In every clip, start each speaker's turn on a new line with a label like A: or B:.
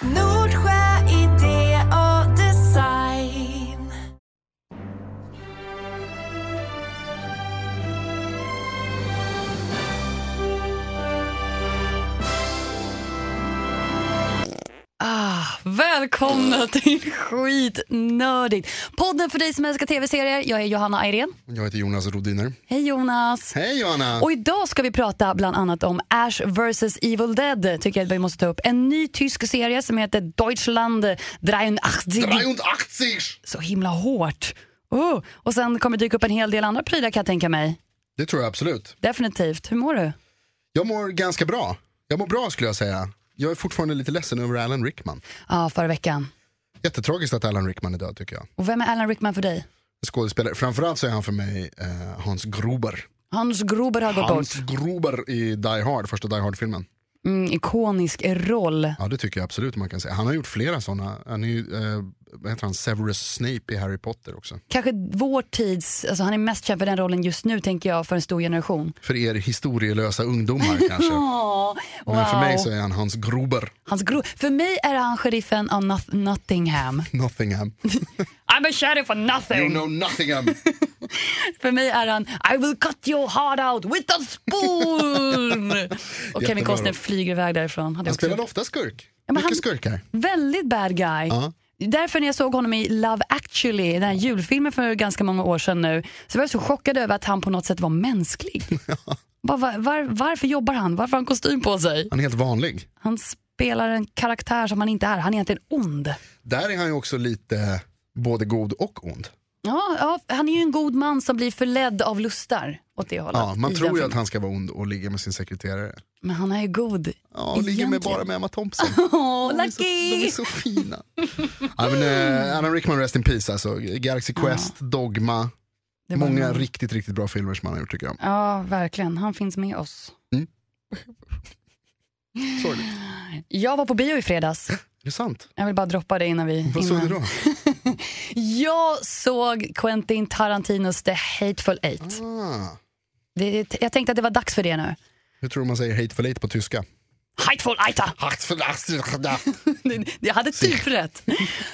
A: Nordsjö idé och design.
B: Ah, välkomna till Skitnördigt! Podden för dig som älskar tv-serier. Jag är Johanna Ayrén.
C: Jag heter Jonas Rodiner.
B: Hej Jonas!
C: Hej Johanna!
B: Och idag ska vi prata bland annat om Ash vs Evil Dead. Tycker jag att vi måste ta upp. En ny tysk serie som heter Deutschland 83.
C: 83!
B: Så himla hårt. Oh. Och sen kommer dyka upp en hel del andra prylar kan jag tänka mig.
C: Det tror jag absolut.
B: Definitivt. Hur mår du?
C: Jag mår ganska bra. Jag mår bra skulle jag säga. Jag är fortfarande lite ledsen över Alan Rickman.
B: ah, förra veckan.
C: Jättetragiskt att Alan Rickman är död tycker jag.
B: Och vem är Alan Rickman för dig?
C: Skådespelare. Framförallt så är han för mig eh, Hans Gruber.
B: Hans Gruber har gått
C: Hans
B: bort.
C: Gruber i Die Hard, första Die Hard-filmen.
B: Mm, ikonisk roll.
C: Ja det tycker jag absolut man kan säga. Han har gjort flera sådana. Han är ju, eh, vad heter han, Severus Snape i Harry Potter också.
B: kanske vår tids, alltså han är mest känd för den rollen just nu tänker jag för en stor generation.
C: För er historielösa ungdomar kanske.
B: Åh, wow.
C: Men för mig så är han Hans Gruber,
B: Hans gro- för mig är han sheriffen av Noth- Nottingham.
C: Nottingham.
B: I'm a sheriff of nothing.
C: You know Nottingham.
B: För mig är han I will cut your heart out with a spoon. Och Kevin
C: Jättebra
B: Costner
C: roll.
B: flyger iväg därifrån. Hade
C: Han
B: jag också
C: spelade
B: gjort.
C: ofta skurk.
B: men
C: Mycket
B: han-
C: skurkar.
B: Väldigt bad guy.
C: Ja.
B: Därför när jag såg honom i Love actually, den här julfilmen för ganska många år sedan nu, så var jag så chockad över att han på något sätt var mänsklig. Bara, var, var, varför jobbar han? Varför har han kostym på sig?
C: Han är helt vanlig.
B: Han spelar en karaktär som han inte är. Han är egentligen ond.
C: Där är han ju också lite både god och ond.
B: Ja, ja, han är ju en god man som blir förledd av lustar åt det hållet.
C: Ja, man
B: i
C: tror
B: den
C: ju att
B: filmen.
C: han ska vara ond och ligga med sin sekreterare.
B: Men han är ju god.
C: Ja, och ligger med
B: Egentligen.
C: bara med Emma Thompson.
B: Åh,
C: De är så, de
B: lucky!
C: är så fina. ja, men, eh, Alan Rickman, Rest in Peace alltså. Galaxy Quest, Dogma.
B: Det var
C: Många
B: en-
C: riktigt, riktigt bra filmer som han har gjort tycker jag.
B: Ja, verkligen. Han finns med oss.
C: Sorgligt.
B: Jag var på bio i fredags.
C: Är det sant?
B: Jag vill bara droppa det innan vi...
C: Vad såg
B: innan.
C: du då?
B: Jag såg Quentin Tarantinos The Hateful Eight.
C: Ah,
B: Det, jag tänkte att det var dags för det nu.
C: hur tror du man säger hateful eight på tyska?
B: Hateful Eight!
C: Hateful eight.
B: Det- Jag hade typ rätt.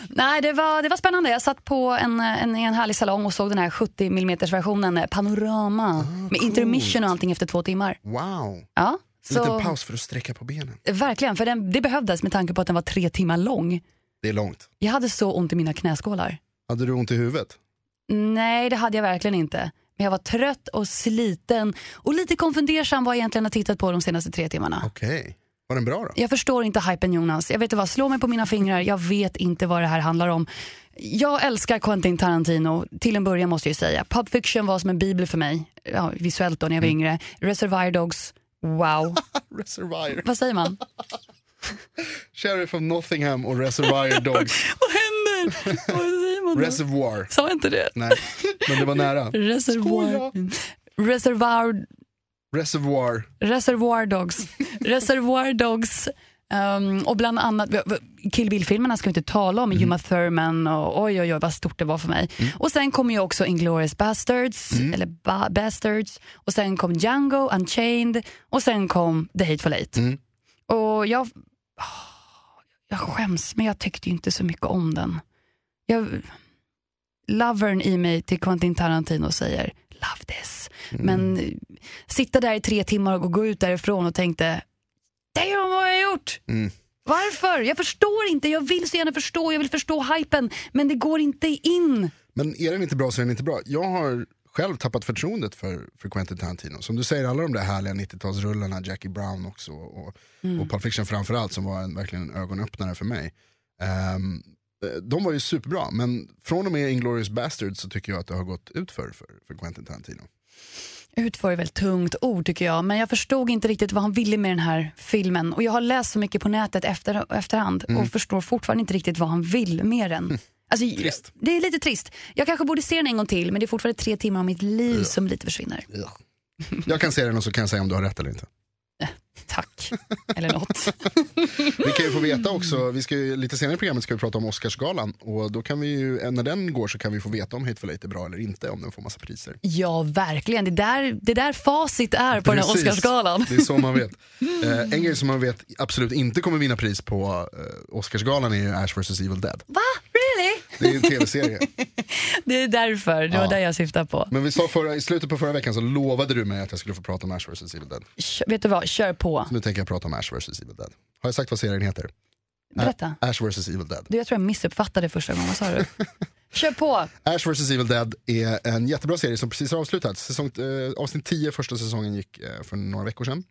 B: Nej, det var, det var spännande. Jag satt på en, en, en härlig salong och såg den här 70 mm versionen, panorama, med intermission och allting efter två timmar.
C: Wow.
B: Ja,
C: Ah, En
B: så,
C: liten paus för att sträcka på benen.
B: verkligen, för den, det behövdes med tanke på att den var tre timmar lång.
C: Det är långt.
B: Jag hade så ont i mina knäskålar.
C: Hade du ont i huvudet?
B: Nej, det hade jag verkligen inte. Men jag var trött och sliten och lite konfundersam vad jag egentligen har tittat på de senaste tre timmarna.
C: Okej. Var den bra då?
B: Jag förstår inte hypen Jonas. Jag vet inte vad, slå mig på mina fingrar. Jag vet inte vad det här handlar om. Jag älskar Quentin Tarantino, till en början måste jag ju säga. Pulp Fiction var som en bibel för mig, ja, visuellt då när jag var yngre. Reservoir Dogs, wow.
C: Reservoir.
B: vad säger man?
C: Sheriff of Nottingham och Reservoir Dogs.
B: vad händer? Vad säger man då?
C: Reservoir.
B: Sa jag inte det?
C: Nej, men det var nära.
B: Reservoir... Reservoir...
C: Reservoir.
B: Reservoir Dogs. Reservoir Dogs. ehm, och bland annat, Kill Bill-filmerna ska vi inte tala om, Uma Thurman och oj oj oj vad stort det var för mig. Och sen kom ju också Inglourious Bastards, eller ba- Bastards, och sen kom Django Unchained och sen kom The Hateful Eight.
C: Mm.
B: Och jag, åh, jag skäms men jag tyckte ju inte så mycket om den. Jag, lovern i mig till Quentin Tarantino säger love this. Men eh, sitta där i tre timmar och gå ut därifrån och tänkte damn vad har jag gjort?
C: Mm.
B: Varför? Jag förstår inte. Jag vill så gärna förstå. Jag vill förstå hypen. Men det går inte in.
C: Men är den inte bra så är den inte bra. Jag har själv tappat förtroendet för, för Quentin Tarantino. Som du säger, alla de där härliga 90-talsrullarna, Jackie Brown också och, och Pulp Fiction framförallt som var en, verkligen en ögonöppnare för mig. Ehm, eh, de var ju superbra, men från och med Inglourious Basterds så tycker jag att det har gått ut för, för, för Quentin Tarantino.
B: Utför är väl ett tungt ord tycker jag, men jag förstod inte riktigt vad han ville med den här filmen. Och jag har läst så mycket på nätet efter, efterhand
C: Mm.
B: och förstår fortfarande inte riktigt vad han vill med den. Alltså,
C: Hm. Trist.
B: Det är lite trist. Jag kanske borde se den en gång till, men det är fortfarande tre timmar av mitt liv som lite försvinner.
C: Jag kan se den och så kan jag säga om du har rätt eller inte.
B: Tack. Eller något.
C: Vi kan ju få veta också, vi ska ju, lite senare i programmet ska vi prata om Oscarsgalan och då kan vi ju, eh, när den går så kan vi få veta om Hateful Eight är bra eller inte, om den får massa priser.
B: Ja, verkligen. Det där, det där facit är på den här
C: Precis.
B: Oscarsgalan.
C: Det är så man vet. Eh, en grej som man vet absolut inte kommer vinna pris på eh, Oscarsgalan är ju Ash vs Evil Dead.
B: Va? Really?
C: Det är ju en tv-serie.
B: Det är därför. Det var
C: Ja.
B: det jag syftade på.
C: Men vi sa förra, i slutet på förra veckan så lovade du mig att jag skulle få prata om Ash vs Evil Dead.
B: Kör, vet du vad? Kör på.
C: Nu tänker jag prata om Ash vs Evil Dead. Har jag sagt vad serien heter?
B: Berätta.
C: Ash vs Evil Dead.
B: Du, jag tror jag missuppfattade första gången. Vad sa du? Kör på.
C: Ash vs Evil Dead är en jättebra serie som precis har avslutats. Säsong, eh, avsnitt 10, första säsongen, gick eh, för några veckor sedan.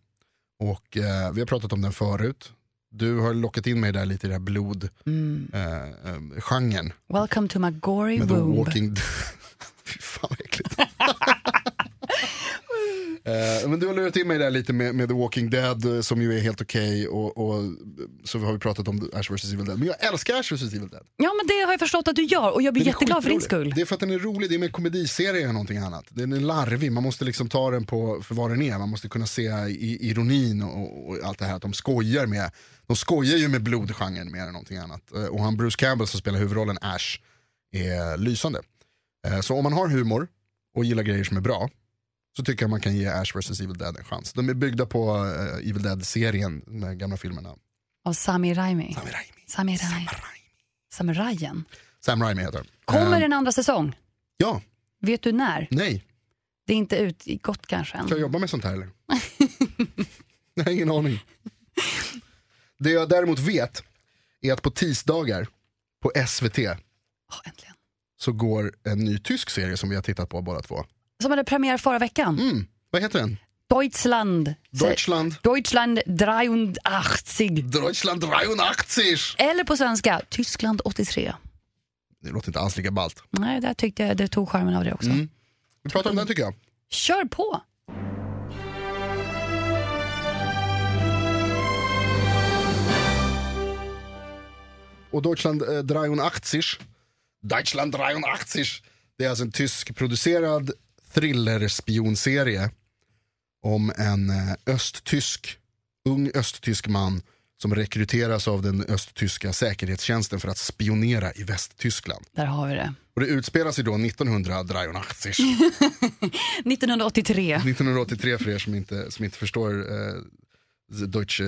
C: Och eh, vi har pratat om den förut. Du har lockat in mig där lite i den här blodgenren. Eh, eh, genren.
B: Welcome to my gory
C: med The
B: womb.
C: Walking Dead. Fy fan vad äckligt. Eh, men du har lurat in mig där lite med, med The Walking Dead eh, som ju är helt okej och, och så har vi pratat om Ash vs Evil Dead. Men jag älskar Ash vs Evil Dead.
B: Ja, men det har jag förstått att du gör och jag blir
C: Den är
B: jätteglad för din
C: skitrolig.
B: skull.
C: Det är för att den är rolig, det är mer komediserie än någonting annat. Den är larvig, man måste liksom ta den på för vad den är. Man måste kunna se i, ironin och, och allt det här att de skojar med, de skojar ju med blodgenren mer än någonting annat. Eh, Och han Bruce Campbell som spelar huvudrollen Ash är lysande. Eh, Så om man har humor och gillar grejer som är bra så tycker jag man kan ge Ash vs Evil Dead en chans. De är byggda på eh, Evil Dead-serien, de gamla filmerna.
B: Av Sami Raimi.
C: Sam
B: Sami
C: Raimi.
B: Raimi. Samurajen.
C: Sam Raimi heter han.
B: Kommer
C: Eh,
B: en andra säsong?
C: Ja,
B: Vet du när?
C: nej.
B: Det är inte utgått kanske än.
C: Ska jag jobba med sånt här eller? jag har ingen aning. Det jag däremot vet är att på tisdagar på SVT
B: Ja, äntligen.
C: så går en ny tysk serie som vi har tittat på båda två.
B: Som hade premiär förra veckan.
C: Mm, vad heter den?
B: Deutschland.
C: Deutschland.
B: Deutschland 83.
C: Deutschland 83!
B: Eller på svenska, Tyskland 83.
C: Det låter inte alls lika ballt.
B: Nej, där tyckte jag det tog charmen av det också.
C: Mm. Vi pratar om den tycker jag.
B: Kör på!
C: Och Deutschland eh, 83. Deutschland 83. Det är alltså en tyskproducerad thrillerspionserie om en eh, östtysk, ung östtysk man som rekryteras av den östtyska säkerhetstjänsten för att spionera i Västtyskland.
B: Där har vi det.
C: Och det utspelar sig då 1983.
B: 1983.
C: 1983 för er som inte, som inte förstår eh, the Deutsche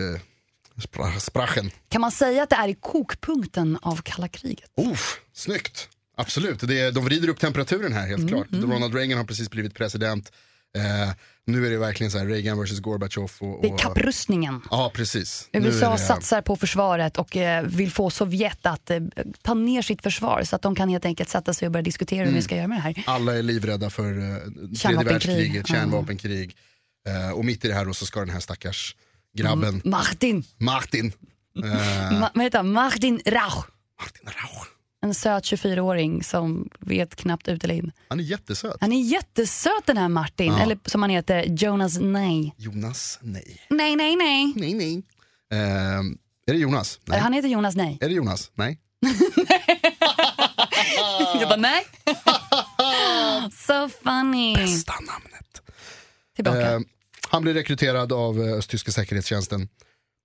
C: Spra- Sprachen.
B: Kan man säga att det är i kokpunkten av kalla kriget?
C: Oof, snyggt! Absolut, det är, de vrider upp temperaturen här
B: Mm,
C: helt klart. Ronald Reagan har precis blivit president. Eh, nu är det verkligen så här Reagan versus Gorbachev. Och,
B: Det är
C: och,
B: kapprustningen.
C: ja, precis. Nu är
B: USA
C: det-
B: satsar på försvaret och eh, vill få Sovjet att eh, ta ner sitt försvar så att de kan helt enkelt sätta sig och börja diskutera
C: Mm.
B: hur vi ska göra med det här.
C: Alla är livrädda för eh, tredje
B: Kärnvapenkrig.
C: världskriget,
B: Ja.
C: kärnvapenkrig. Eh, och mitt i det här då så ska den här stackars grabben,
B: Mm. Martin,
C: Martin, eh,
B: Ma- vad heter han? Martin Rauch.
C: Martin Rauch.
B: En söt 24-åring som vet knappt ut eller in.
C: Han är jättesöt.
B: Han är jättesöt den här Martin, eller som han heter, Jonas Nej.
C: Jonas, nej.
B: Nej, nej, nej.
C: Nej, nej. Eh, är det Jonas? Nej.
B: Han heter Jonas Nej.
C: Är det Jonas? Nej.
B: Jag bara nej. so funny.
C: Bästa namnet.
B: Tillbaka.
C: Eh, han blir rekryterad av eh, östtyska säkerhetstjänsten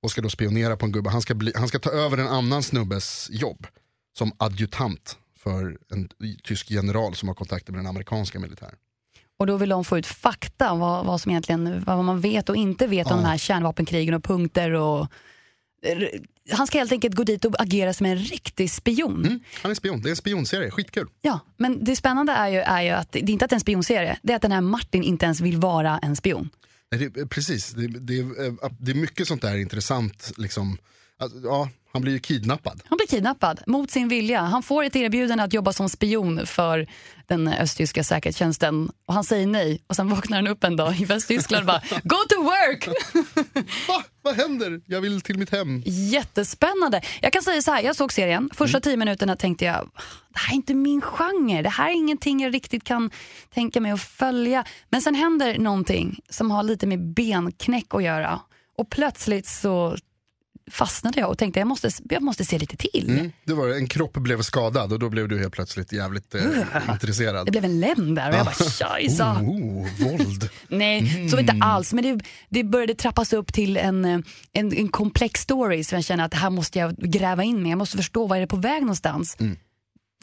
C: och ska då spionera på en gubbe. Han ska, bli, han ska ta över en annan snubbes jobb som adjutant för en tysk general som har kontakter med den amerikanska militären.
B: Och då vill de få ut fakta, vad, vad, som egentligen, vad man vet och inte vet om de här kärnvapenkrigen och punkter. Och, eh, r- han ska helt enkelt gå dit och agera som en riktig spion.
C: Mm, han är spion, det är en spionserie, skitkul.
B: Ja, men det spännande är ju, är ju att det det är inte att det är en spionserie, det är att den här Martin inte ens vill vara en spion.
C: Nej, det, eh, precis, det, det, är, eh, det är mycket sånt där intressant. Liksom. Alltså, ja, han blir ju kidnappad.
B: Han blir kidnappad mot sin vilja. Han får ett erbjudande att jobba som spion för den östtyska säkerhetstjänsten och han säger nej. Och sen vaknar han upp en dag i Västtyskland och bara “Go to work!”
C: Va? Vad händer? Jag vill till mitt hem.
B: Jättespännande. Jag kan säga så här, jag såg serien. Första
C: Mm.
B: tio minuterna tänkte jag, det här är inte min genre. Det här är ingenting jag riktigt kan tänka mig att följa. Men sen händer någonting som har lite med benknäck att göra. Och plötsligt så fastnade jag och tänkte jag måste, jag måste se lite till.
C: Mm, det var det. En kropp blev skadad och då blev du helt plötsligt jävligt eh, intresserad.
B: Det blev en lem där och jag bara tjajsa.
C: Oh, oh, våld.
B: Nej, så inte
C: Mm.
B: alls. Men det, det började trappas upp till en, eh, en, en komplex story som jag känner att här måste jag gräva in mig. Jag måste förstå vad är det på väg någonstans.
C: Mm.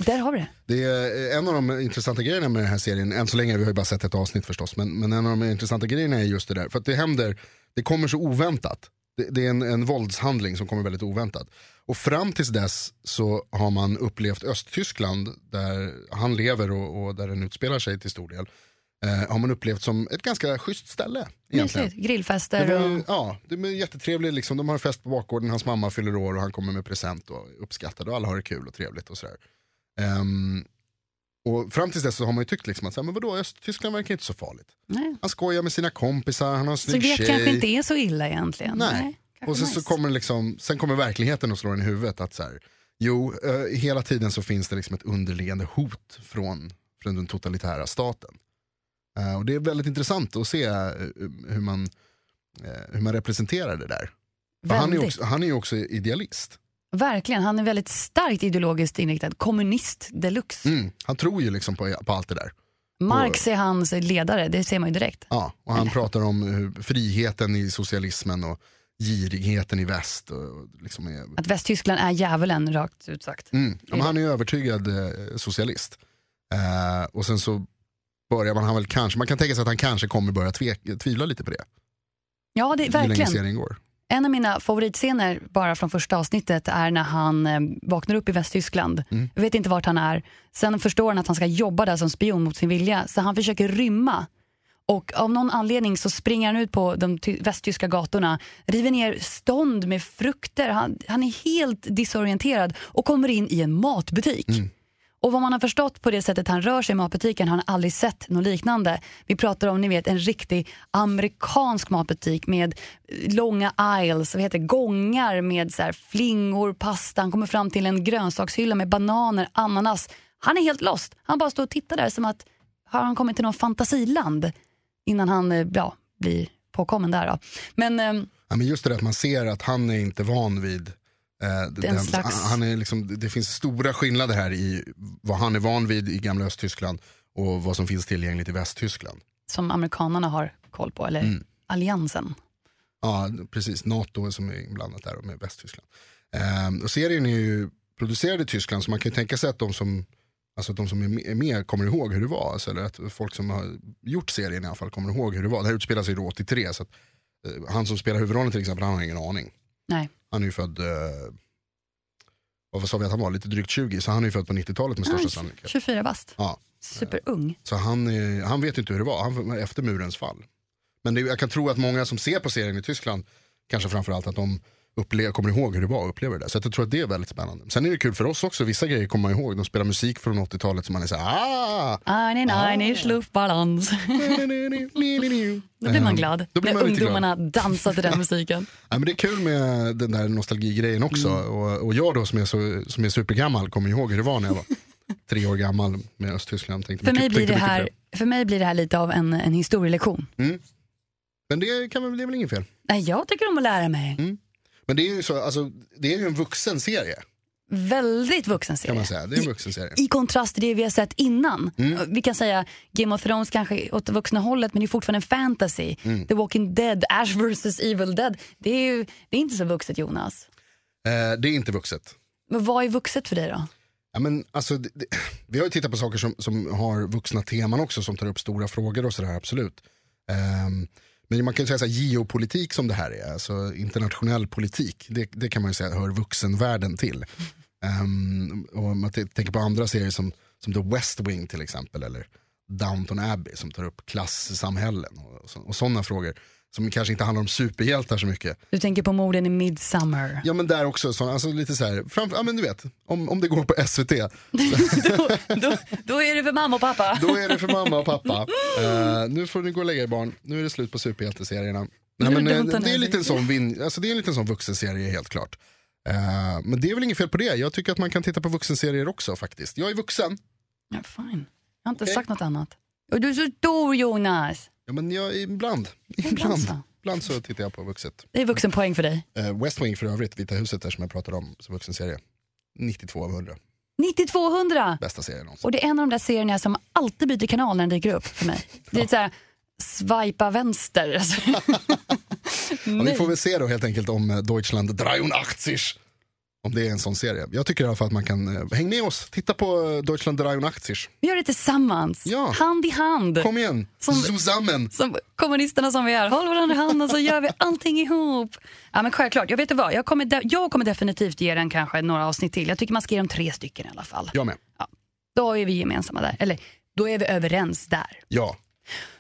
B: Där har vi det.
C: Det är eh, en av de intressanta grejerna med den här serien, än så länge, vi har ju bara sett ett avsnitt förstås, men, men en av de intressanta grejerna är just det där, för att det händer, det kommer så oväntat. Det, det är en, en våldshandling som kommer väldigt oväntat. Och fram tills dess så har man upplevt Östtyskland, där han lever och, och där den utspelar sig till stor del, eh, har man upplevt som ett ganska schysst ställe. Egentligen.
B: Mysigt.
C: Det
B: Grillfester
C: var, ju-
B: och...
C: ja, det är jättetrevligt. Liksom. De har en fest på bakgården, hans mamma fyller år och han kommer med present och är uppskattad och alla har det kul och trevligt och sådär. Ehm, och fram tills dess så har man ju tyckt liksom att så här, men vadå, Östtyskland verkar inte så farligt.
B: Nej.
C: Han skojar med sina kompisar, han har en
B: Så
C: snygg
B: det
C: tjej.
B: kanske inte är så illa egentligen.
C: Nej.
B: kanske
C: och sen, så
B: nice.
C: kommer det liksom, sen kommer verkligheten och slår en i huvudet att så här, jo, eh, hela tiden så finns det liksom ett underliggande hot från, från den totalitära staten. Eh, och det är väldigt intressant att se eh, hur, man, eh, hur man representerar det där. För Han är, ju
B: Väldigt.
C: också, han är ju också idealist.
B: Verkligen, han är väldigt starkt ideologiskt inriktad. Kommunist deluxe.
C: Mm. Han tror ju liksom på, på allt det där.
B: Marx är hans ledare, det ser man ju direkt.
C: Ja, och han pratar om eh, hur friheten i socialismen och girigheten i väst. Och och liksom är,
B: Att Västtyskland är djävulen, rakt ut sagt.
C: mm. ja, men han är ju övertygad eh, socialist. Eh, och sen så börjar man han väl kanske, man kan tänka sig att han kanske kommer börja tveka, tvivla lite på det.
B: Ja, det,
C: Ju längre
B: verkligen.
C: serien går.
B: En av mina favoritscener bara från första avsnittet är när han eh, vaknar upp i Västtyskland. Jag vet inte vart han är. Sen förstår han att han ska jobba där som spion mot sin vilja, så han försöker rymma. Och av någon anledning så springer han ut på de ty- västtyska gatorna, river ner stånd med frukter. Han, han är helt disorienterad och kommer in i en matbutik. Och vad man har förstått på det sättet han rör sig i matbutiken har han aldrig sett något liknande. Vi pratar om ni vet, en riktig amerikansk matbutik med eh, långa aisles, vad heter det, gångar med så här flingor, pasta. Han kommer fram till en grönsakshylla med bananer, ananas. Han är helt lost. Han bara står och tittar där som att har han kommit till någon fantasiland innan han eh, ja, blir påkommen där. Då. Men eh,
C: Ja, men just det där att man ser att han är inte van vid eh, d-
B: Den slags-
C: han- han är liksom, det finns stora skillnader här i vad han är van vid i gamla Östtyskland och vad som finns tillgängligt i Västtyskland.
B: som amerikanarna har koll på, eller
C: Mm.
B: alliansen.
C: Ja, precis. NATO som är inblandat där och med Västtyskland. Ehm, och serien är ju producerad i Tyskland så man kan ju tänka sig att de som, alltså att de som är med- är med kommer ihåg hur det var. Alltså, eller att folk som har gjort serien i alla fall kommer ihåg hur det var. Det här utspelar sig då 83 så att, eh, han som spelar huvudrollen till exempel han har ingen aning.
B: Nej.
C: Han är ju född, eh, vad sa vi att han var, lite drygt 20 så han är ju född på 90-talet med största
B: Nej,
C: sannolikhet.
B: 24 bast,
C: Ja.
B: superung.
C: Så han, eh, han vet inte hur det var, han var efter murens fall. Men det, jag kan tro att många som ser på serien i Tyskland, kanske framförallt att de upple- kommer ihåg hur det var och upplever det. Så att jag tror att det är väldigt spännande. Sen är det kul för oss också, vissa grejer kommer man ihåg. De spelar musik från 80-talet som man är så här, ah!
B: Einen, eine Schluffbalans. Då blir man glad.
C: Ehm, Då blir
B: när
C: man lite glad.
B: ungdomarna dansar till den musiken.
C: Ja, men det är kul med den där nostalgigrejen också.
B: Mm.
C: Och, och jag då som är, så, som är supergammal kommer ihåg hur det var när jag var tre år gammal med Östtyskland. Tänkte
B: För
C: mycket-
B: mig, blir
C: tänkte
B: det
C: mycket på
B: här, för mig blir det här lite av en, en historielektion.
C: Men det, kan, väl- det är väl inget fel.
B: Nej, jag tycker om att lära mig.
C: Mm. Men det är ju, så, alltså, det är ju en vuxen serie
B: Väldigt vuxen
C: kan man
B: serie.
C: säga. Mm. Det är en vuxen serie.
B: I kontrast till det vi har sett innan. Vi kan säga Game of Thrones kanske åt det vuxna hållet men det är fortfarande en fantasy.
C: Mm.
B: The Walking Dead, Ash vs Evil Dead. Det är ju det är inte så vuxet Jonas.
C: Eh, det är inte vuxet.
B: Men vad är vuxet för dig då?
C: Ja, men, alltså, det, det, vi har ju tittat på saker som, som har vuxna teman också, som tar upp stora frågor och sådär, absolut. Ehm, men man kan ju säga så här, geopolitik som det här är, alltså internationell politik, det, det kan man ju säga hör vuxenvärlden till. Ehm, och om man t- tänker på andra serier som, som The West Wing till exempel, eller Downton Abbey som tar upp klassamhällen och, och, så, och sådana frågor. Som kanske inte handlar om superhjältar så mycket,
B: Du tänker på morden i Midsummer.
C: Ja men där också, så, alltså lite så här, framför, ja men du vet, om, om det går på SVT,
B: då, då, då är det för mamma och pappa.
C: då är det för mamma och pappa. Eh, nu får ni gå och lägga er barn, nu är det slut på superhjälteserierna. Nej,
B: Nu
C: men, eh,
B: Downton
C: det, är
B: Abbey.
C: lite en sån vin, alltså, det är en liten sån vuxenserie helt klart. Eh, men det är väl inget fel på det, jag tycker att man kan titta på vuxenserier också faktiskt. Jag är vuxen,
B: Ja, fine. Jag har inte sagt något annat. Och du är så stor Jonas.
C: ja, men jag, ibland,
B: Ibland
C: ibland,
B: så.
C: ibland, ibland så tittar jag på vuxet.
B: Det är vuxenpoäng för dig.
C: Eh, West Wing för övrigt, Vita huset där som jag pratade om som vuxenserie. 92 av 100,
B: 9200!
C: bästa serien någonsin.
B: Och det är en av de där serierna som alltid byter kanal när den dyker upp för mig. Det är så här, swipa vänster. Alltså.
C: Ja, vi får väl se då helt enkelt om eh, Deutschland 83, om det är en sån serie. Jag tycker i alla fall att man kan, eh, häng med oss, titta på eh, Deutschland 83.
B: Vi gör det tillsammans,
C: Ja.
B: hand i hand.
C: Kom igen,
B: Som-
C: zusammen.
B: Som kommunisterna som vi är, håll varandra i handen så gör vi allting ihop. Ja men självklart, jag vet du vad, jag kommer, de- jag kommer definitivt ge den kanske några avsnitt till. Jag tycker man ska ge dem tre stycken i alla fall.
C: Jag med.
B: Då är vi gemensamma där, eller då är vi överens där.
C: Ja,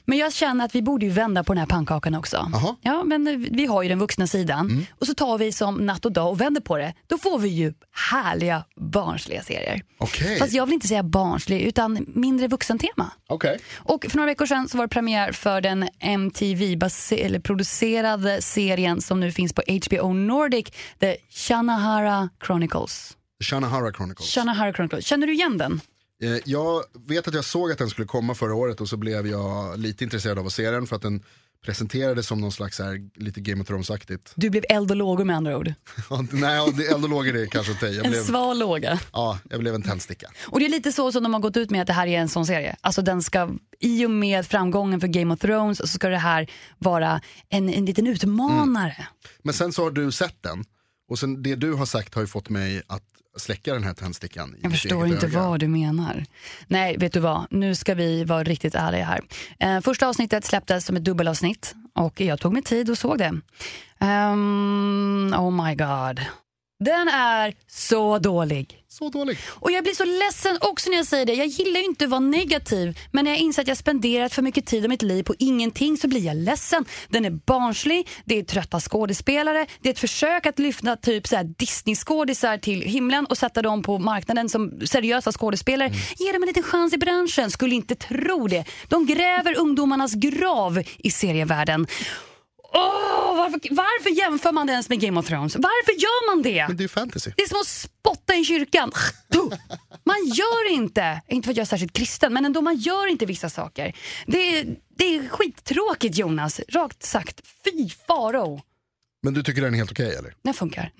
B: Men jag känner att vi borde ju vända på den här pannkakan också.
C: Jaha. Mm.
B: Ja, men eh, vi har ju den vuxna sidan och så tar vi som natt och dag och vänder på det. Då får vi ju härliga barnsliga serier.
C: okej.
B: Fast jag vill inte säga barnslig utan mindre vuxentema.
C: Okej.
B: Och för några veckor sedan så var det premiär för den MTV-producerade serien som nu finns på HBO Nordic, The Shanahara Chronicles.
C: Shanahara Chronicles.
B: Shanahara Chronicles. Känner du igen den?
C: Eh, Jag vet att jag såg att den skulle komma förra året och så blev jag lite intresserad av att se den för att den presenterades som någon slags så här, lite Game of Thrones-aktigt.
B: Du blev eld och lågor med andra ord.
C: Ja, Nej, ja, det- ändå låg i det kanske inte. Jag
B: En
C: blev,
B: sval låga.
C: ja, jag blev en tändsticka.
B: Och det är lite så som de har gått ut med att det här är en sån serie. Alltså den ska, i och med framgången för Game of Thrones så ska det här vara en, en liten utmanare.
C: Men sen så har du sett den och sen det du har sagt har ju fått mig att släcka den här tändstickan. i
B: Jag
C: mitt
B: förstår
C: eget
B: inte
C: öga.
B: vad du menar. Nej, vet du vad? Nu ska vi vara riktigt ärliga här. Eh, första avsnittet släpptes som ett dubbelavsnitt och jag tog mig tid och såg det. Ehm, oh my god. Den är så dålig.
C: Så dålig.
B: Och jag blir så ledsen också när jag säger det. Jag gillar ju inte att vara negativ. Men när jag inser att jag spenderat för mycket tid av mitt liv på ingenting så blir jag ledsen. Den är barnslig, det är trötta skådespelare, det är ett försök att lyfta typ så här Disney-skådisar till himlen och sätta dem på marknaden som seriösa skådespelare. Ge dem en liten chans i branschen, skulle inte tro det. De gräver ungdomarnas grav i serievärlden. Åh, varför, varför jämför man det ens med Game of Thrones? Varför gör man det?
C: Men det är ju fantasy.
B: Det är som att spotta i kyrkan. Du! Man gör inte, inte för att jag är särskilt kristen, men ändå man gör inte vissa saker. Det är, det är skittråkigt Jonas, rakt sagt. Fy farao.
C: Men du tycker den är helt okej eller?
B: Den funkar.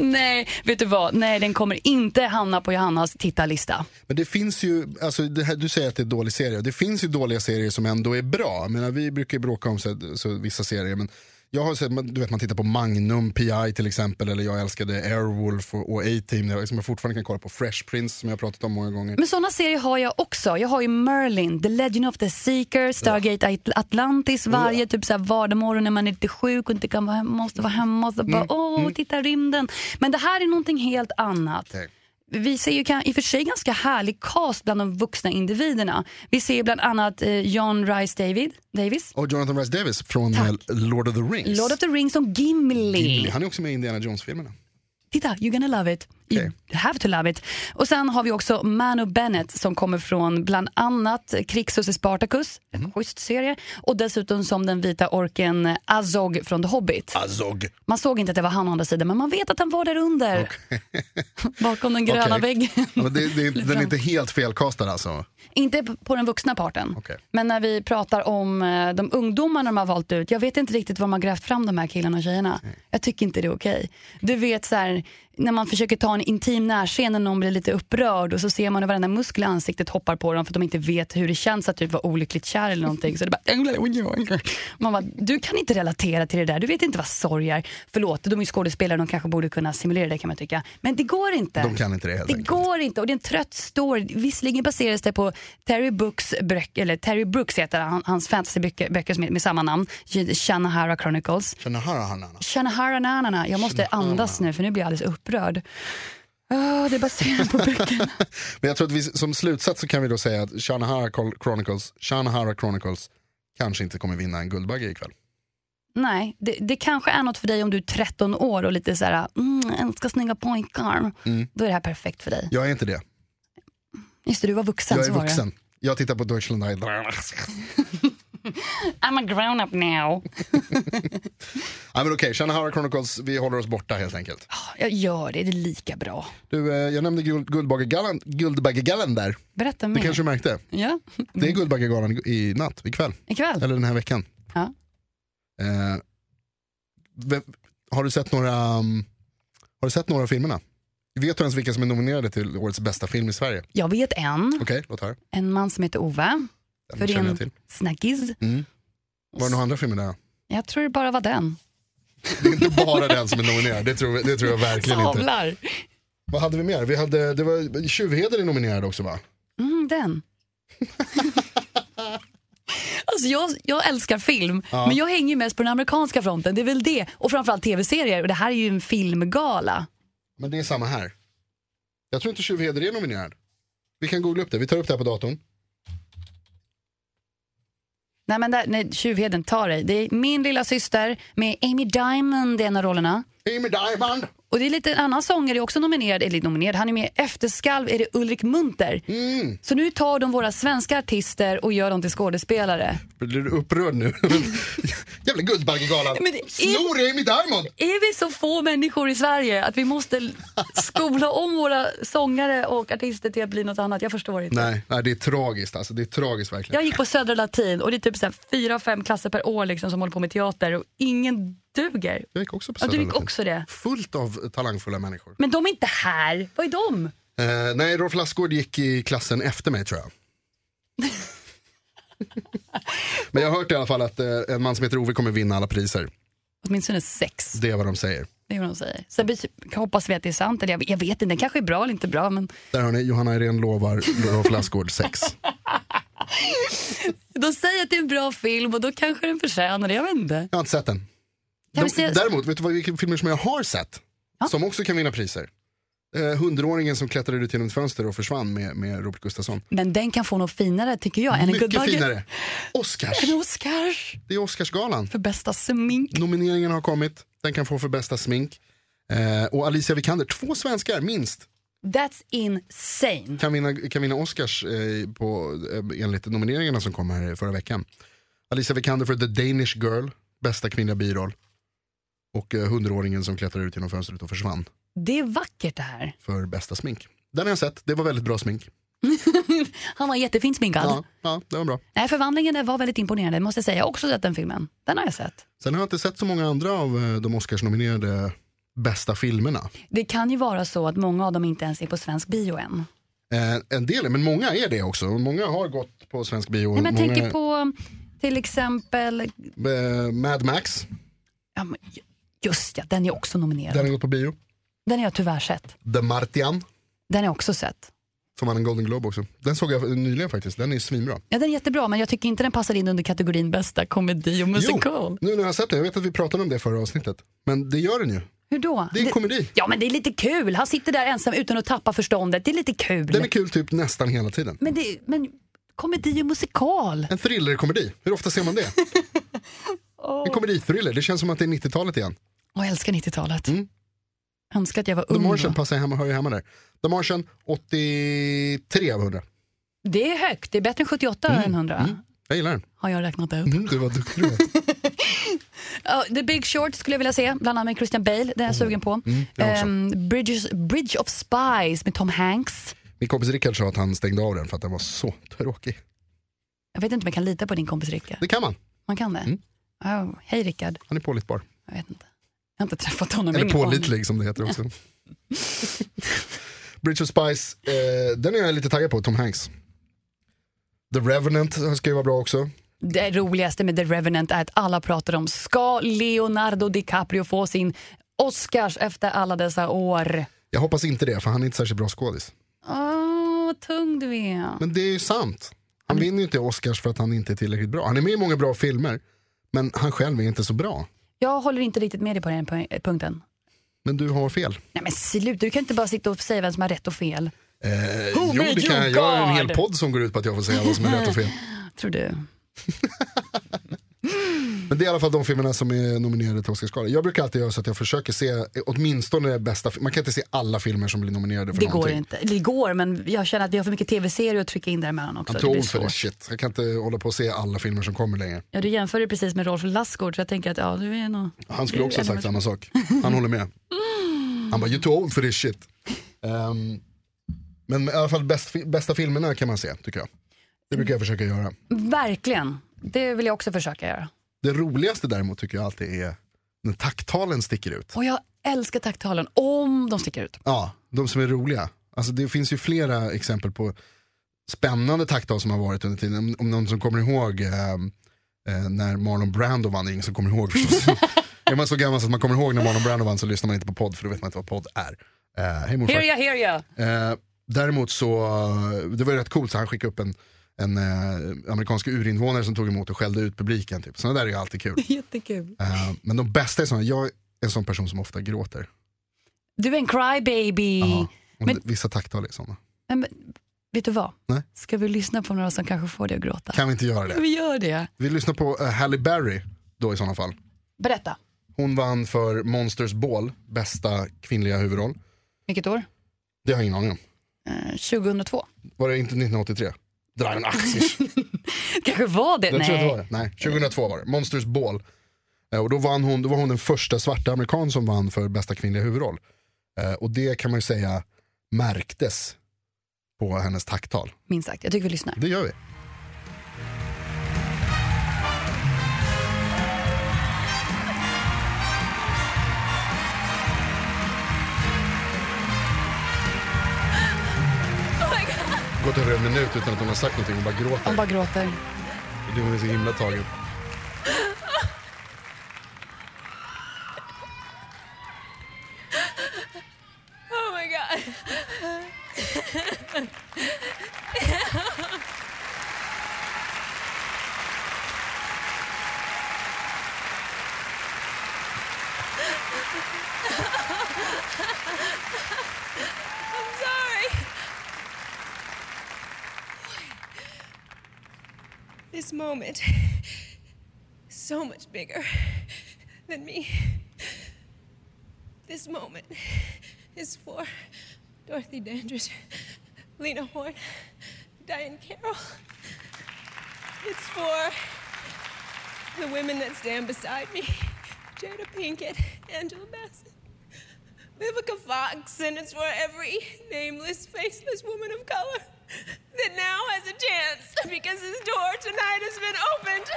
B: Nej, vet du vad? Nej, den kommer inte hamna på Johannas tittarlista.
C: Men det finns ju, alltså det här, du säger att det är en dålig serie. Det finns ju dåliga serier som ändå är bra. Jag menar, vi brukar ju bråka om så, så, vissa serier. Men jag har sett, man- du vet man tittar på Magnum PI till exempel. Eller jag älskade Airwolf och, och A-Team. Jag- Som jag fortfarande kan kolla på. Fresh Prince som jag har pratat om många gånger.
B: Men såna serier har jag också. Jag har ju Merlin, The Legend of the Seeker, Stargate At- Atlantis varje typ så här vardagsmorgon när man är lite sjuk och inte kan vara hemma, måste vara hemma och så bara åh, titta rymden. Men det här är någonting helt annat.
C: Okej.
B: Vi ser ju kan- i och för sig ganska härlig cast bland de vuxna individerna. Vi ser bland annat eh, John Rice David, Davis,
C: Och Jonathan Rhys Davis från eh, Lord of the Rings.
B: Lord of the Rings som Gimli.
C: Han är också med i Indiana Jones-filmerna.
B: Titta, you're gonna love it. You have to love it. Och sen har vi också Manu Bennett som kommer från bland annat Krixus i Spartacus,
C: Mm.
B: en schysst serie, och dessutom som den vita orken Azog från The Hobbit.
C: Azog.
B: Man såg inte att det var han å andra sidan, men man vet att han var där under. Bakom den gröna
C: Okej.
B: väggen.
C: Ja, men det, det, den är inte helt felkastad alltså.
B: Inte p- på den vuxna parten.
C: Okej.
B: Men när vi pratar om eh, de ungdomarna de har valt ut, jag vet inte riktigt var de har grävt fram de här killarna och tjejerna. Jag tycker inte det är okej. Du vet så här, när man försöker ta en intim närscen och någon blir lite upprörd och så ser man hur varenda muskel i ansiktet hoppar på dem för att de inte vet hur det känns att typ vara olyckligt kär eller någonting. Så det bara... Man bara, du kan inte relatera till det där, du vet inte vad sorg är. Förlåt, de är ju skådespelare, de kanske borde kunna simulera det kan man tycka. Men det går inte.
C: De kan inte det helt
B: Det
C: enkelt.
B: går inte och det är en trött story. Visserligen baseras det på Terry Brooks, bröck- eller Terry Brooks heter han, hans fantasyböcker böcker som är med samma namn, Shanahara Chronicles.
C: Känner han han han?
B: Shanahara nanana, jag måste andas nu för nu blir jag alldeles upprörd. Ah, det är baserat på böckerna.
C: Men jag tror att vi, som slutsats så kan vi då säga att Shanahara Col- Chronicles, Shanahara Chronicles kanske inte kommer vinna en Guldbagge ikväll.
B: Nej, det, det kanske är något för dig om du är 13 år och lite så här, mm, älskar snygga pojkar.
C: Mm.
B: Då är det här perfekt för dig.
C: Jag är inte det.
B: Just det, du var vuxen.
C: jag
B: så
C: är
B: var det.
C: vuxen. Jag tittar på Deutschland Eye.
B: I'm a grown up now.
C: Nej men okej, Shanahara Chronicles, vi håller oss borta helt enkelt.
B: Ah, Jag gör det, det är lika bra.
C: Du, eh, jag nämnde Guld- Guldbaggegalan Guldbaggegalan där.
B: Berätta
C: Det
B: mer.
C: kanske du märkte.
B: Ja,
C: Det är Guldbaggegalan i natt, ikväll.
B: ikväll.
C: Eller den här veckan.
B: Ja.
C: Eh, vem- har, du sett några, mm, har du sett några av filmerna? Vet du ens vilka som är nominerade till årets bästa film i Sverige?
B: Jag vet en,
C: Okej, låt höra.
B: en man som heter Ove.
C: Den
B: För det är
C: känner jag
B: en
C: till.
B: snackis.
C: Mm. Var det några andra filmer där?
B: Jag tror det bara var den.
C: Det är inte bara den som är nominerad, det tror, det tror jag verkligen inte.
B: Sablar.
C: Vad hade vi mer? Vi hade, det var, Tjuvheder är nominerad också va?
B: Mm, den. alltså jag, jag älskar film, men jag hänger ju mest på den amerikanska fronten. Det är väl det. Och framförallt tv-serier. Och det här är ju en filmgala.
C: Men det är samma här. Jag tror inte Tjuvheder är nominerad. Vi kan googla upp det, vi tar upp det här på datorn.
B: Nej, men där, nej, Tjuvheden, ta dig. Det är Min lilla syster med Amy Diamond i en av rollerna.
C: Amy Diamond!
B: Och det är lite en annan sångare också nominerad, eller nominerad, han är med i Efterskalv, är det Ulrik Munter.
C: Mm.
B: Så nu tar de våra svenska artister och gör dem till skådespelare.
C: Blir du upprörd nu? Jävla Guldbaggegalan!
B: Men det är-
C: Snor Amy Diamond!
B: Är vi så få människor i Sverige att vi måste skola om våra sångare och artister till att bli något annat? Jag förstår inte.
C: Nej, nej, det är tragiskt alltså, det är tragiskt verkligen.
B: Jag gick på Södra Latin och det är typ så här fyra, fem klasser per år liksom som håller på med teater och ingen duger.
C: Jag gick också på
B: Ja, du
C: Södra
B: gick
C: Latin.
B: också det.
C: Fullt av talangfulla människor.
B: Men de är inte här. Vad är de?
C: Eh, nej, Rolf Lassgård gick i klassen efter mig tror jag. Men jag har hört i alla fall att eh, en man som heter Ove kommer vinna alla priser.
B: Åtminstone sex.
C: Det är vad de säger.
B: Det är vad de säger. Sen vi- hoppas vi att det är sant. Eller jag, jag vet inte, den kanske är bra eller inte bra. Men
C: Där har ni, Johanna Irene lovar Rolf Lassgård sex.
B: de säger att det är en bra film och då kanske den förtjänar det. Jag vet inte.
C: Jag har inte sett den.
B: Kan
C: De,
B: vi se-
C: Däremot, vet du vad, vilka filmer som jag har sett? Som också kan vinna priser. Eh, Hundråringen som klättrade ut genom ett fönster och försvann med, med Robert Gustafsson.
B: Men den kan få något finare tycker jag. Än en
C: Mycket
B: Guldbagge.
C: finare. Oscars.
B: En Oscars
C: Det är Oscarsgalan.
B: för bästa smink.
C: Nomineringen har kommit. Den kan få för bästa smink. Eh, och Alicia Vikander, två svenskar minst,
B: That's insane.
C: kan vinna, kan vinna Oscars eh, på, eh, enligt nomineringarna som kom här förra veckan. Alicia Vikander för The Danish Girl, bästa kvinnliga biroll. Och eh, Hundraåringen som klättrade ut genom fönstret och försvann
B: Det är vackert det här.
C: för bästa smink. Den har jag sett, det var väldigt bra smink.
B: Han var jättefint sminkad.
C: Ja, ja, det var bra.
B: Nej, förvandlingen där var väldigt imponerande. Måste jag säga. Jag har också sett den filmen. Den har jag sett.
C: Sen har jag inte sett så många andra av eh, de Oscars-nominerade bästa filmerna.
B: Det kan ju vara så att många av dem inte ens är på svensk bio än.
C: Eh, en del, men många är det också. Många har gått på svensk bio.
B: Nej, men jag
C: många...
B: tänker på till exempel...
C: Eh, Mad Max,
B: Ja, men ju- just ja, den är också nominerad.
C: den har gått på bio.
B: Den har jag tyvärr sett.
C: The Martian,
B: Den har jag också sett.
C: som vann en Golden Globe också. Den såg jag nyligen faktiskt, den är svinbra.
B: Ja, den är jättebra, men jag tycker inte den passar in under kategorin bästa komedi och musikal.
C: Jo, nu när jag har sett den, jag vet att vi pratade om det förra avsnittet. Men det gör den ju.
B: Hur då?
C: Det är en komedi.
B: Ja, men det är lite kul. Han sitter där ensam utan att tappa förståndet. Det är lite kul.
C: Den är kul typ nästan hela tiden.
B: Men, det, men komedi och musikal?
C: En thrillerkomedi, hur ofta ser man det? En komedithriller, det känns som att det är 90-talet igen.
B: Åh, jag älskar 90-talet.
C: Mm.
B: Önskar att jag var
C: The
B: ung
C: Martian
B: då.
C: passar hemma, hör ju hemma där. The Martian, 83 av 100.
B: Det är högt. Det är bättre än 78
C: Mm.
B: än 100.
C: Jag gillar den.
B: Har jag räknat ut.
C: Mm, du var duktig du. var.
B: Ja, The Big Short skulle jag vilja se, bland annat med Christian Bale. Den är jag sugen på.
C: Mm. jag också.
B: Ehm, Bridges, Bridge of Spies med Tom Hanks.
C: Min kompis Rickard sa att han stängde av den för att den var så tråkig.
B: Jag vet inte om jag kan lita på din kompis Rickard.
C: Det kan man,
B: Man kan det?
C: Mm.
B: Oh, hej Rickard.
C: han är pålitbar.
B: Jag vet inte. Jag har inte träffat honom.
C: Eller
B: ingen aning.
C: pålitlig som det heter också. Bridge of Spice, eh, den är jag lite taggad på, Tom Hanks. The Revenant ska ju vara bra också.
B: Det roligaste med The Revenant är att alla pratar om ska Leonardo DiCaprio få sin Oscars efter alla dessa år?
C: Jag hoppas inte det, för han är inte särskilt bra skådis.
B: Åh, vad tung du är.
C: Men det är ju sant. Han vinner ju inte Oscars för att han inte är tillräckligt bra. Han är med i många bra filmer, men han själv är inte så bra.
B: Jag håller inte riktigt med dig på den punk- punkten.
C: Men du har fel.
B: Nej men sluta, du kan inte bara sitta och säga vem som har rätt och fel.
C: Eh,
B: Who
C: jo,
B: made
C: det kan
B: you
C: jag. Jag har en
B: God?
C: hel podd som går ut på att jag får säga vad som är rätt och fel.
B: Tror du?
C: Men det är i alla fall de filmerna som är nominerade till Oscarsgalan. Jag brukar alltid göra så att jag försöker se eh, åtminstone det bästa. fi- Man kan inte se alla filmer som blir nominerade för
B: Det
C: någonting.
B: går inte. Eller Det går, men jag känner att vi har för mycket tv-serier att trycka in däremellan också.
C: I'm
B: Det
C: too
B: blir
C: old for
B: svårt.
C: this shit. Jag kan inte hålla på och se alla filmer som kommer längre.
B: Ja, du jämför det precis med Rolf Lassgård, så jag tänker att ja, du är nog...
C: Han skulle
B: du
C: också ha
B: är
C: sagt samma sak. Han håller med. Han bara, you're too old for this shit. Ehm, men i alla fall bäst, bästa filmerna kan man se, tycker jag. Det brukar jag försöka göra.
B: Verkligen. Det vill jag också försöka göra.
C: Det roligaste däremot tycker jag alltid är när tacktalen sticker ut.
B: Och jag älskar tacktalen om de sticker ut.
C: Ja, de som är roliga. Alltså det finns ju flera exempel på spännande takttal som har varit under tiden. Om, om någon som kommer ihåg eh, eh, när Marlon Brando vann, det är ingen som kommer ihåg förstås. är man så gammal så att man kommer ihåg när Marlon Brando vann så lyssnar man inte på podd för då vet man inte vad podd är. Eh, hej morfar.
B: Hear ya, hear ya!
C: Eh, däremot så, eh, det var ju rätt coolt så han skickade upp en, en eh, amerikansk urinvånare som tog emot och skällde ut publiken. Typ. Sådana där är ju alltid kul.
B: Jättekul.
C: Eh, men de bästa är sådana, jag är en sån person som ofta gråter.
B: Du är en crybaby.
C: Ja. Och
B: Men-
C: d- Vissa takttal är sådana.
B: Men, men, vet du vad?
C: Nej.
B: Ska vi lyssna på några som kanske får dig att gråta?
C: Kan vi inte göra det?
B: Vi gör det.
C: Vi lyssnar på eh, Halle Berry då i sådana fall.
B: Berätta.
C: Hon vann för Monsters Ball, bästa kvinnliga huvudroll.
B: Vilket år?
C: Det har jag ingen aning om.
B: Eh, 2002.
C: Var det inte 1983? Dra en axis.
B: kanske var det.
C: Jag tror att det var
B: Nej.
C: det. Nej, 2002 var det. Monsters Ball. Eh, Och då, vann hon, då var hon den första svarta amerikan som vann för bästa kvinnliga huvudroll. Eh, Och det kan man ju säga märktes på hennes tacktal.
B: Minst sagt. Jag tycker vi lyssnar.
C: Det gör vi. gått över en minut utan att hon har sagt någonting, hon bara gråter.
B: Hon bara gråter.
C: Det hon är så himla tagen.
A: Oh my god. I'm sorry.
D: This moment is so much bigger than me. This moment is for Dorothy Dandridge, Lena Horne, Diane Carroll. It's for the women that stand beside me Jada Pinkett, Angela Bassett, Vivica Fox, and it's for every nameless, faceless woman of color that now has a chance because this door tonight has been opened.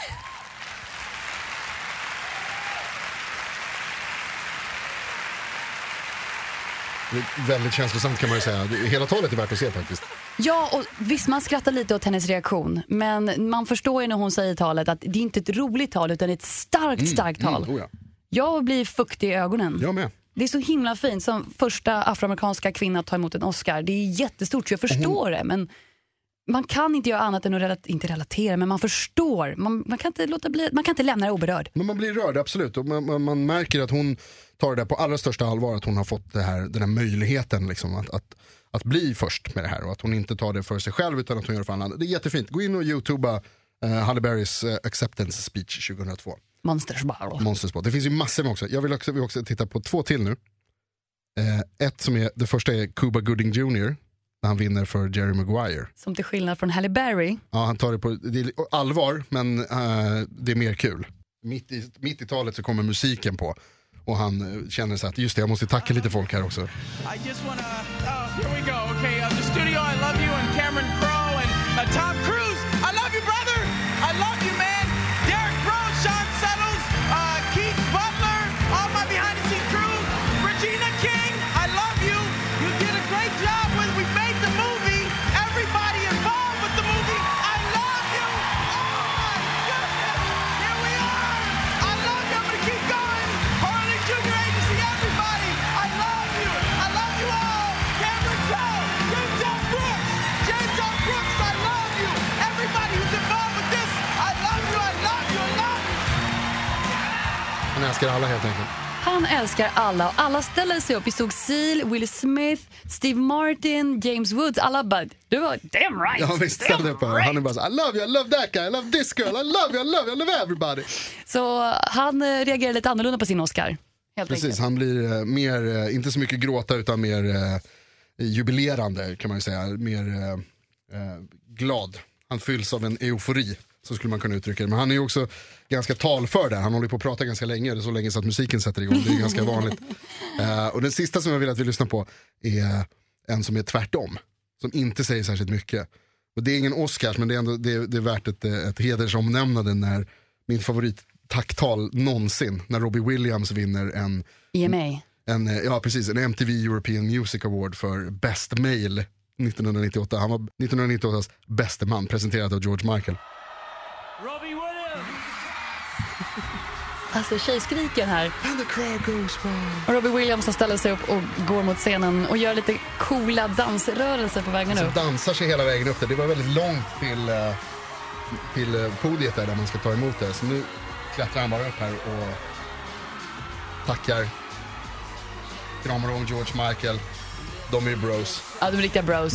C: Det är väldigt känslosamt kan man ju säga. Det- Hela talet är värt att se faktiskt.
B: Ja, och visst man skrattar lite åt hennes reaktion. Men man förstår ju när hon säger talet att det är inte ett roligt tal utan ett starkt, starkt tal.
C: Mm, oh ja.
B: Jag blir fuktig i ögonen.
C: Jag med.
B: Det är så himla fint som första afroamerikanska kvinna att ta emot en Oscar. Det är jättestort så jag förstår det. Men man kan inte göra annat än att relat- inte relatera, men man förstår. Man, man, kan, inte låta bli, man kan inte lämna det oberörd.
C: Men man blir rörd, absolut. Och man, man, man märker att hon tar det där på allra största allvar, att hon har fått det här, den här möjligheten liksom, att, att, att bli först med det här och att hon inte tar det för sig själv utan att hon gör det för alla andra. Det är jättefint. Gå in och youtuba eh, Halle Berrys eh, acceptance speech 2002.
B: Monsters Ball.
C: Monsterspot. Det finns ju massor med också. Jag vill också, vi också titta på två till nu. Eh, ett som är, det första är Cuba Gooding Jr. När han vinner för Jerry Maguire.
B: Som till skillnad från Halle Berry.
C: Ja, han tar det på det är allvar, men eh, det är mer kul. Mitt i, mitt i talet så kommer musiken på. Och han eh, känner så att just det, jag måste tacka lite folk här också.
E: I just want to. Uh, here we go. Okay, uh, the studio, I love you, and Cameron Crowe and uh, Tom Cruise. I love you, brother. I love you, man. Derek Brown, Sean Settles, uh, Keith Butler, all my behind the scenes crew, Regina King. I love you. You did a great job when we made the movie. Everybody involved with the movie. I love you. Oh my goodness. Here we are. I love you. I'm gonna keep going. Harley Junior Agency, everybody. I love you. I love you all. Cameron Joe, James L. Brooks, James L. Brooks, I love you. Everybody who's involved with this, I love you. I love you. I love you.
C: Han älskar alla helt enkelt.
B: Han älskar alla och alla ställde sig upp. Vi såg Seal, Will Smith, Steve Martin, James Woods. Alla bara, du var damn right.
C: Ja, visst, ställ dig upp här. Han är bara så I love you, I love that guy, I love this girl, I love you, I love you, I love everybody.
B: Så han eh, reagerade lite annorlunda på sin Oscar. Helt
C: Precis,
B: enkelt.
C: han blir eh, mer, eh, inte så mycket gråta utan mer eh, jubilerande kan man ju säga. Mer eh, eh, glad. Han fylls av en eufori, så skulle man kunna uttrycka det. Men han är ju också ganska talför där. Han håller ju på att prata ganska länge, det är så länge så att musiken sätter igång. Det är ju ganska vanligt. Eh, och den sista som jag vill att vi lyssnar på är en som är tvärtom. Som inte säger särskilt mycket. Och det är ingen Oscars, men det är, ändå, det är, det är värt ett, eh, ett hedersomnämnande när min favorit tacktal någonsin när Robbie Williams vinner en,
B: EMA.
C: en, eh, ja, precis, en MTV European Music Award för Best Male 1998. Han var 1998s bäste man, presenterad av George Michael.
E: Robbie Williams!
B: Alltså tjejskriken här.
C: And the crowd goes wild.
B: Och Robbie Williams som ställer sig upp och går mot scenen och gör lite coola dansrörelser på vägen upp.
C: Som dansar sig hela vägen upp där. Det var väldigt långt till, eh, till eh, podiet där, där man ska ta emot det. Så nu klättrar han bara upp här och tackar. Kramar om George Michael. De är ju bros.
B: Ja, de är riktiga bros.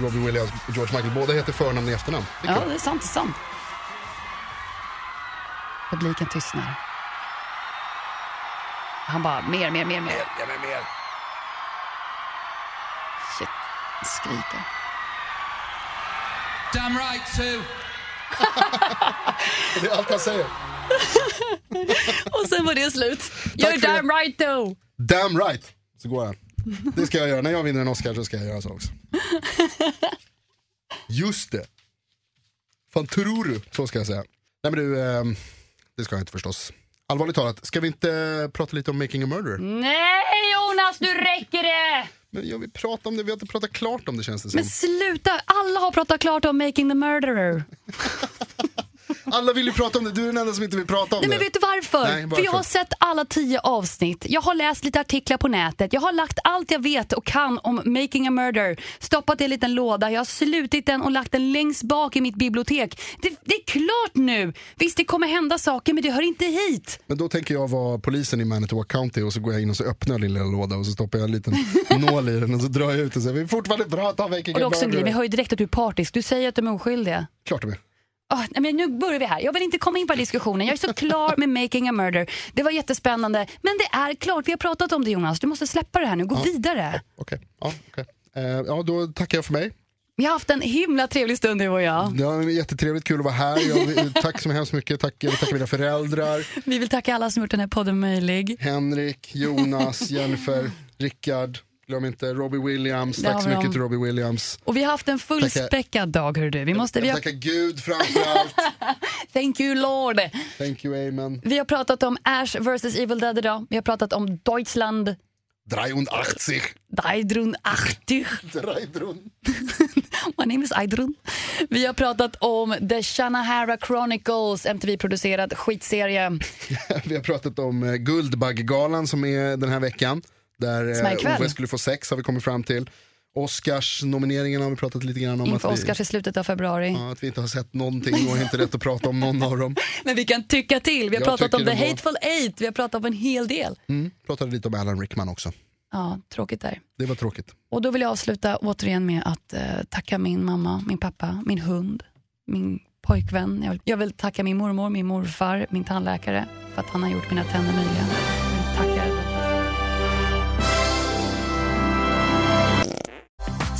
C: Robbie Williams och George Michael. Båda heter förnamn och efternamn. Det är
B: Mm. Ja,
C: kul.
B: det är sant. Det är sant. Publiken tystnar. Han bara, mer, mer, mer, mer.
C: Ja, men mer.
B: Shit, han skriker.
F: Damn right, too.
C: Det är allt han säger.
B: Och sen var det slut. You're
C: för det.
B: damn right though.
C: Damn right! Så går han. Det ska jag göra. När jag vinner en Oscar så ska jag göra så också. Just det. Fan tror du? Så ska jag säga. Nej men du, ehm, det ska jag inte förstås. Allvarligt talat, ska vi inte prata lite om Making a Murderer?
B: Mm. Nej Jonas, nu räcker det!
C: Men jag vill prata om det, vi har inte pratat klart om det känns det som.
B: Men sluta, alla har pratat klart om Making the Murderer.
C: Alla vill ju prata om det, du är den enda som inte vill prata om
B: Nej,
C: det.
B: men vet du varför?
C: Nej, varför?
B: För jag har sett alla tio avsnitt. Jag har läst lite artiklar på nätet. Jag har lagt allt jag vet och kan om Making a Murder. Stoppat i en liten låda. Jag har slutit den och lagt den längst bak i mitt bibliotek. Det, det är klart nu! Visst, det kommer hända saker, men det hör inte hit.
C: Men då tänker jag vara polisen i Manitowoc County och så går jag in och så öppnar jag din lilla låda och så stoppar jag en liten nål i den och så drar jag ut och säger vi är fortfarande prata om Making
B: Och det är
C: a
B: också en grej, men jag
C: Murderer.
B: hör ju direkt att du är partisk. Du säger att de är oskyldiga.
C: Klart det är.
B: Ah, nej, men nu börjar vi här. Jag vill inte komma in på den här diskussionen. Jag är så klar med Making a Murder. Det var jättespännande. Men det är klart, vi har pratat om det Jonas. Du måste släppa det här nu. Gå vidare.
C: Okej, ja, okej. Eh, ja, då tackar jag för mig.
B: Vi har haft en himla trevlig stund du och jag.
C: Det var jättetrevligt, kul att vara här. Jag, vill- tack så hemskt mycket. Tack, jag vill tacka mina föräldrar.
B: Vi vill tacka alla som gjort den här podden möjlig.
C: Henrik, Jonas, Jennifer, Rickard. Glöm inte Robbie Williams.
B: Det har
C: Tack så
B: vi
C: mycket
B: dem.
C: till Robbie Williams.
B: Och vi har haft en fullspäckad dag hörru du. Vi måste, vi har,
C: Tacka Gud framför allt.
B: thank you Lord.
C: Thank you, amen.
B: Vi har pratat om Ash vs Evil Dead idag. Vi har pratat om Deutschland,
C: 83.
B: Deidrun Achtig.
C: 83.
B: My name is Aydrun. Vi har pratat om The Shanahara Chronicles, MTV-producerad skitserie.
C: Vi har pratat om eh, Guldbaggegalan som är den här veckan. Där
B: Som är
C: eh,
B: ikväll.
C: Ove skulle få sex har vi kommit fram till. Oscars-nomineringen har vi pratat lite grann om.
B: Inför
C: att vi,
B: Oscars i slutet av februari.
C: ja, att vi inte har sett någonting och inte rätt att prata om någon av dem.
B: Men vi kan tycka till. Vi har
C: Jag
B: pratat om
C: tycker
B: The
C: det var-
B: Hateful Eight, vi har pratat om en hel del.
C: Pratade lite om Alan Rickman också.
B: Ja, tråkigt där.
C: Det var tråkigt.
B: Och då vill jag avsluta återigen med att eh, tacka min mamma, min pappa, min hund, min pojkvän. Jag vill, jag vill tacka min mormor, min morfar, min tandläkare för att han har gjort mina tänder möjliga. Jag Tackar.